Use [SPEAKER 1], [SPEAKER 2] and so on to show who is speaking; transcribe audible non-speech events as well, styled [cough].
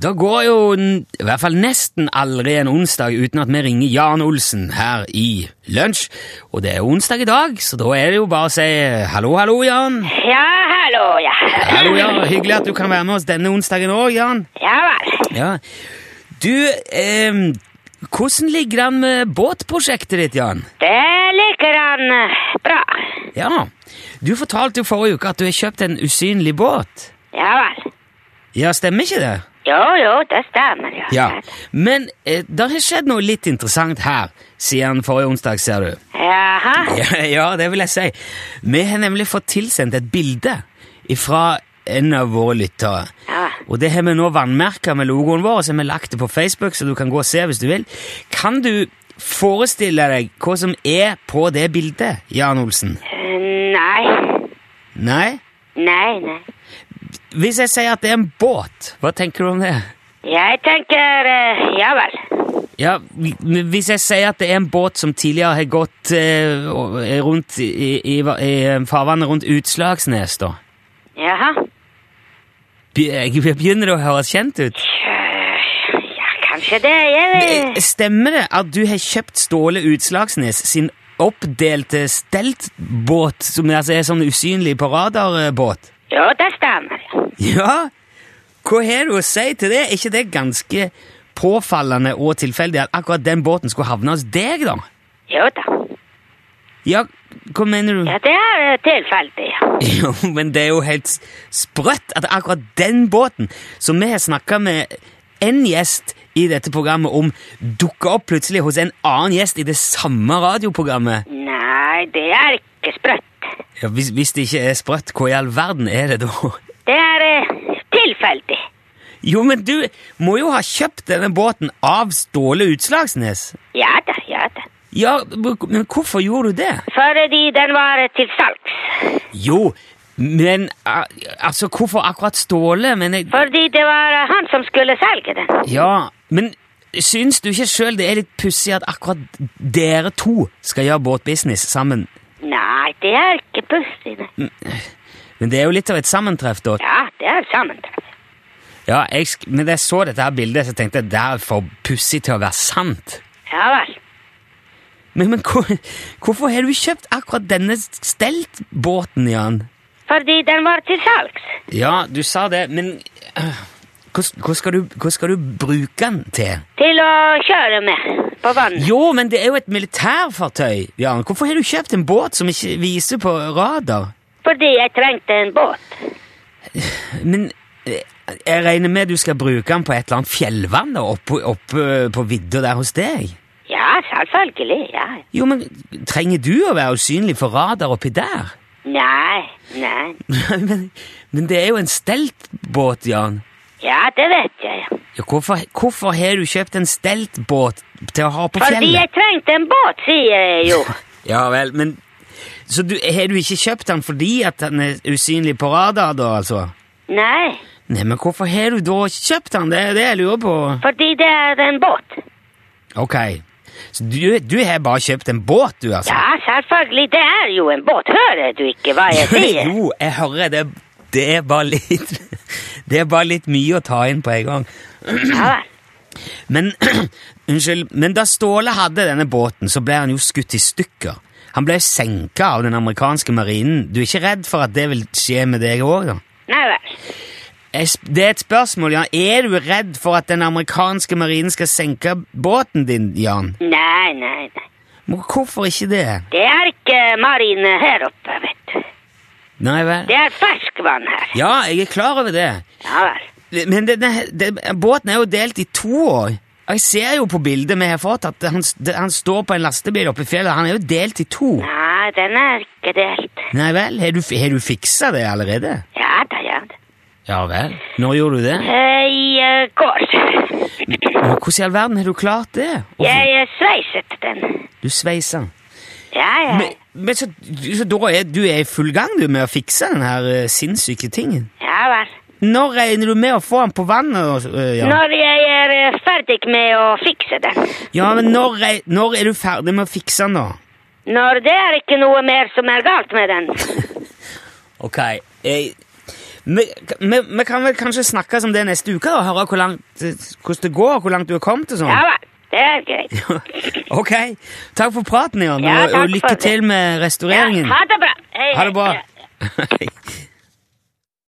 [SPEAKER 1] Da går jo n- i hvert fall nesten aldri en onsdag uten at vi ringer Jan Olsen her i lunsj. Og det er onsdag i dag, så da er det jo bare å si hallo, hallo, Jan.
[SPEAKER 2] Ja, hallo, ja.
[SPEAKER 1] Hallo, Jan. Hyggelig at du kan være med oss denne onsdagen òg, Jan.
[SPEAKER 2] Ja vel.
[SPEAKER 1] Ja. Du, ehm, hvordan ligger det an med båtprosjektet ditt, Jan?
[SPEAKER 2] Det ligger an eh, bra.
[SPEAKER 1] Ja, Du fortalte jo forrige uke at du har kjøpt en usynlig båt.
[SPEAKER 2] Ja vel.
[SPEAKER 1] Ja, stemmer ikke det?
[SPEAKER 2] Jo, jo, det stemmer, ja.
[SPEAKER 1] Ja, Men eh, det har skjedd noe litt interessant her siden forrige onsdag, ser du.
[SPEAKER 2] Jaha.
[SPEAKER 1] Ja, ja, det vil jeg si. Vi har nemlig fått tilsendt et bilde fra en av våre lyttere.
[SPEAKER 2] Ja.
[SPEAKER 1] Og det har vi nå vannmerka med logoen vår, og så har vi lagt det på Facebook, så du kan gå og se hvis du vil. Kan du forestille deg hva som er på det bildet, Jan Olsen?
[SPEAKER 2] Eh, Nei.
[SPEAKER 1] Nei?
[SPEAKER 2] Nei, nei.
[SPEAKER 1] Hvis jeg sier at det er en båt, hva tenker du om det?
[SPEAKER 2] Jeg tenker eh, Ja vel.
[SPEAKER 1] Ja, Hvis jeg sier at det er en båt som tidligere har gått eh, rundt i, i, i farvannet rundt Utslagsnes, da
[SPEAKER 2] Jaha.
[SPEAKER 1] Be- Begynner det å høres kjent ut?
[SPEAKER 2] Eh, Ja, kanskje det. Jeg
[SPEAKER 1] Eh,
[SPEAKER 2] vil
[SPEAKER 1] Stemmer det at du har kjøpt Ståle Utslagsnes sin oppdelte steltbåt, som altså er sånn usynlig på radarbåt?
[SPEAKER 2] Jo, det stemmer, ja.
[SPEAKER 1] Ja? Hva har du å si til det? Er ikke det ganske påfallende og tilfeldig at akkurat den båten skulle havne hos deg, da?
[SPEAKER 2] Jo da.
[SPEAKER 1] Ja, hva mener du?
[SPEAKER 2] Ja, det er eh, tilfeldig, ja.
[SPEAKER 1] Jo, men det er jo helt s- sprøtt at akkurat den båten som vi har snakka med en gjest i dette programmet om, dukker opp plutselig hos en annen gjest i det samme radioprogrammet.
[SPEAKER 2] Nei, det er ikke sprøtt.
[SPEAKER 1] Ja, hvis, hvis det ikke er sprøtt, hva i all verden er det da? [laughs]
[SPEAKER 2] Det er eh, tilfeldig.
[SPEAKER 1] Jo, men du må jo ha kjøpt denne båten av Ståle Utslagsnes.
[SPEAKER 2] Ja da, ja da.
[SPEAKER 1] Ja, men hvorfor gjorde du det?
[SPEAKER 2] Fordi den var eh, til salgs.
[SPEAKER 1] Jo, men eh, altså, hvorfor akkurat Ståle? Men jeg
[SPEAKER 2] Fordi det var eh, han som skulle selge den.
[SPEAKER 1] Ja, men syns du ikke sjøl det er litt pussig at akkurat dere to skal gjøre båtbusiness sammen?
[SPEAKER 2] Nei, det er ikke pussig. nei.
[SPEAKER 1] Men det er jo litt av et sammentreff, da.
[SPEAKER 2] Ja, det er sammentreff.
[SPEAKER 1] Ja, jeg, sk- Men da jeg så dette her bildet, så tenkte jeg det er for pussig til å være sant.
[SPEAKER 2] Ja vel.
[SPEAKER 1] Men, men hvor, hvorfor har du kjøpt akkurat denne steltbåten, Jan?
[SPEAKER 2] Fordi den var til salgs.
[SPEAKER 1] Ja, du sa det, men øh, hva, s- hva, skal du, hva skal du bruke den til?
[SPEAKER 2] Til å kjøre med på vannet.
[SPEAKER 1] Jo, men det er jo et militærfartøy, Jan. Hvorfor har du kjøpt en båt som ikke viser på radar?
[SPEAKER 2] Fordi jeg trengte en båt.
[SPEAKER 1] Men eh, jeg regner med du skal bruke den på et eller annet fjellvann da, oppe, oppe eh, på vidda der hos deg?
[SPEAKER 2] Ja, selvfølgelig. Ja. ja.
[SPEAKER 1] Jo, men trenger du å være usynlig for radar oppi der? [laughs]
[SPEAKER 2] Nei, nei.
[SPEAKER 1] men, men det er jo en steltbåt, Jan.
[SPEAKER 2] Ja, det vet jeg. ja.
[SPEAKER 1] Ja, hvorfor, hvorfor har du kjøpt en steltbåt til å ha på
[SPEAKER 2] Fordi
[SPEAKER 1] fjellet?
[SPEAKER 2] jeg trengte en båt, sier jeg [laughs] jo.
[SPEAKER 1] Ja vel, men Så du, har du ikke kjøpt den fordi at den er usynlig på radar, da, altså?
[SPEAKER 2] Nei,
[SPEAKER 1] Nei, men hvorfor har du da kjøpt den? Det er det jeg lurer på.
[SPEAKER 2] fordi det er en båt.
[SPEAKER 1] Ok, så du, du har bare kjøpt en båt, du, altså?
[SPEAKER 2] Ja, selvfølgelig. Det er jo en båt. Hører du ikke hva jeg sier?
[SPEAKER 1] Jo, jeg hører det. Det er bare litt [laughs] Det er bare litt mye å ta inn på en gang.
[SPEAKER 2] Ja vel.
[SPEAKER 1] Men [clears throat] unnskyld, men da Ståle hadde denne båten, så ble han jo skutt i stykker. Han ble senka av den amerikanske marinen. Du er ikke redd for at det vil skje med deg òg, da?
[SPEAKER 2] Nei vel.
[SPEAKER 1] Jeg sp- Det er et spørsmål, Jan. Er du redd for at den amerikanske marinen skal senke båten din, Jan?
[SPEAKER 2] Nei, nei, nei.
[SPEAKER 1] Men hvorfor ikke det?
[SPEAKER 2] Det er ikke marine her oppe, vet du.
[SPEAKER 1] Nei vel?
[SPEAKER 2] Det er ferskvann her.
[SPEAKER 1] Ja, jeg er klar over det.
[SPEAKER 2] Ja vel.
[SPEAKER 1] Men denne, den- båten er jo delt i to år. Og Jeg ser jo på bildet vi har fått at han, det- han står på en lastebil oppe i fjellet. Han er jo delt i to.
[SPEAKER 2] Nei, den er ikke delt.
[SPEAKER 1] Nei vel, har du, har du fiksa det allerede?
[SPEAKER 2] Ja da, ja da.
[SPEAKER 1] Ja vel. Når gjorde du det?
[SPEAKER 2] Eh, I eh, går.
[SPEAKER 1] Men Hvordan i all verden har du klart det? Og
[SPEAKER 2] Jeg eh, sveiset den.
[SPEAKER 1] Du sveisa.
[SPEAKER 2] Ja, ja.
[SPEAKER 1] Men, men så, så da er du er i full gang du med å fikse den her eh, sinnssyke tingen?
[SPEAKER 2] Ja vel.
[SPEAKER 1] Når regner du med å få den på vannet? eh, Jan?
[SPEAKER 2] Når jeg er eh, ferdig med å fikse den.
[SPEAKER 1] Ja, men når, reg- når er du ferdig med å fikse den, da?
[SPEAKER 2] Når det er ikke noe mer som er galt med den.
[SPEAKER 1] Ok, jeg, Vi, vi, vi kan vel kanskje snakkes om det neste uke og høre hvor langt, hvordan det går, og hvor langt du er kommet og sånn.
[SPEAKER 2] Ja vel. Det er greit.
[SPEAKER 1] [laughs] Ok, takk for praten, Jørn,
[SPEAKER 2] Ja,
[SPEAKER 1] og,
[SPEAKER 2] takk
[SPEAKER 1] og lykke
[SPEAKER 2] for det.
[SPEAKER 1] til med
[SPEAKER 2] [laughs] Ja,
[SPEAKER 1] restaureringen.
[SPEAKER 2] ha det bra. Hei,
[SPEAKER 1] Ha det bra.
[SPEAKER 2] hei.
[SPEAKER 1] [laughs] Hei.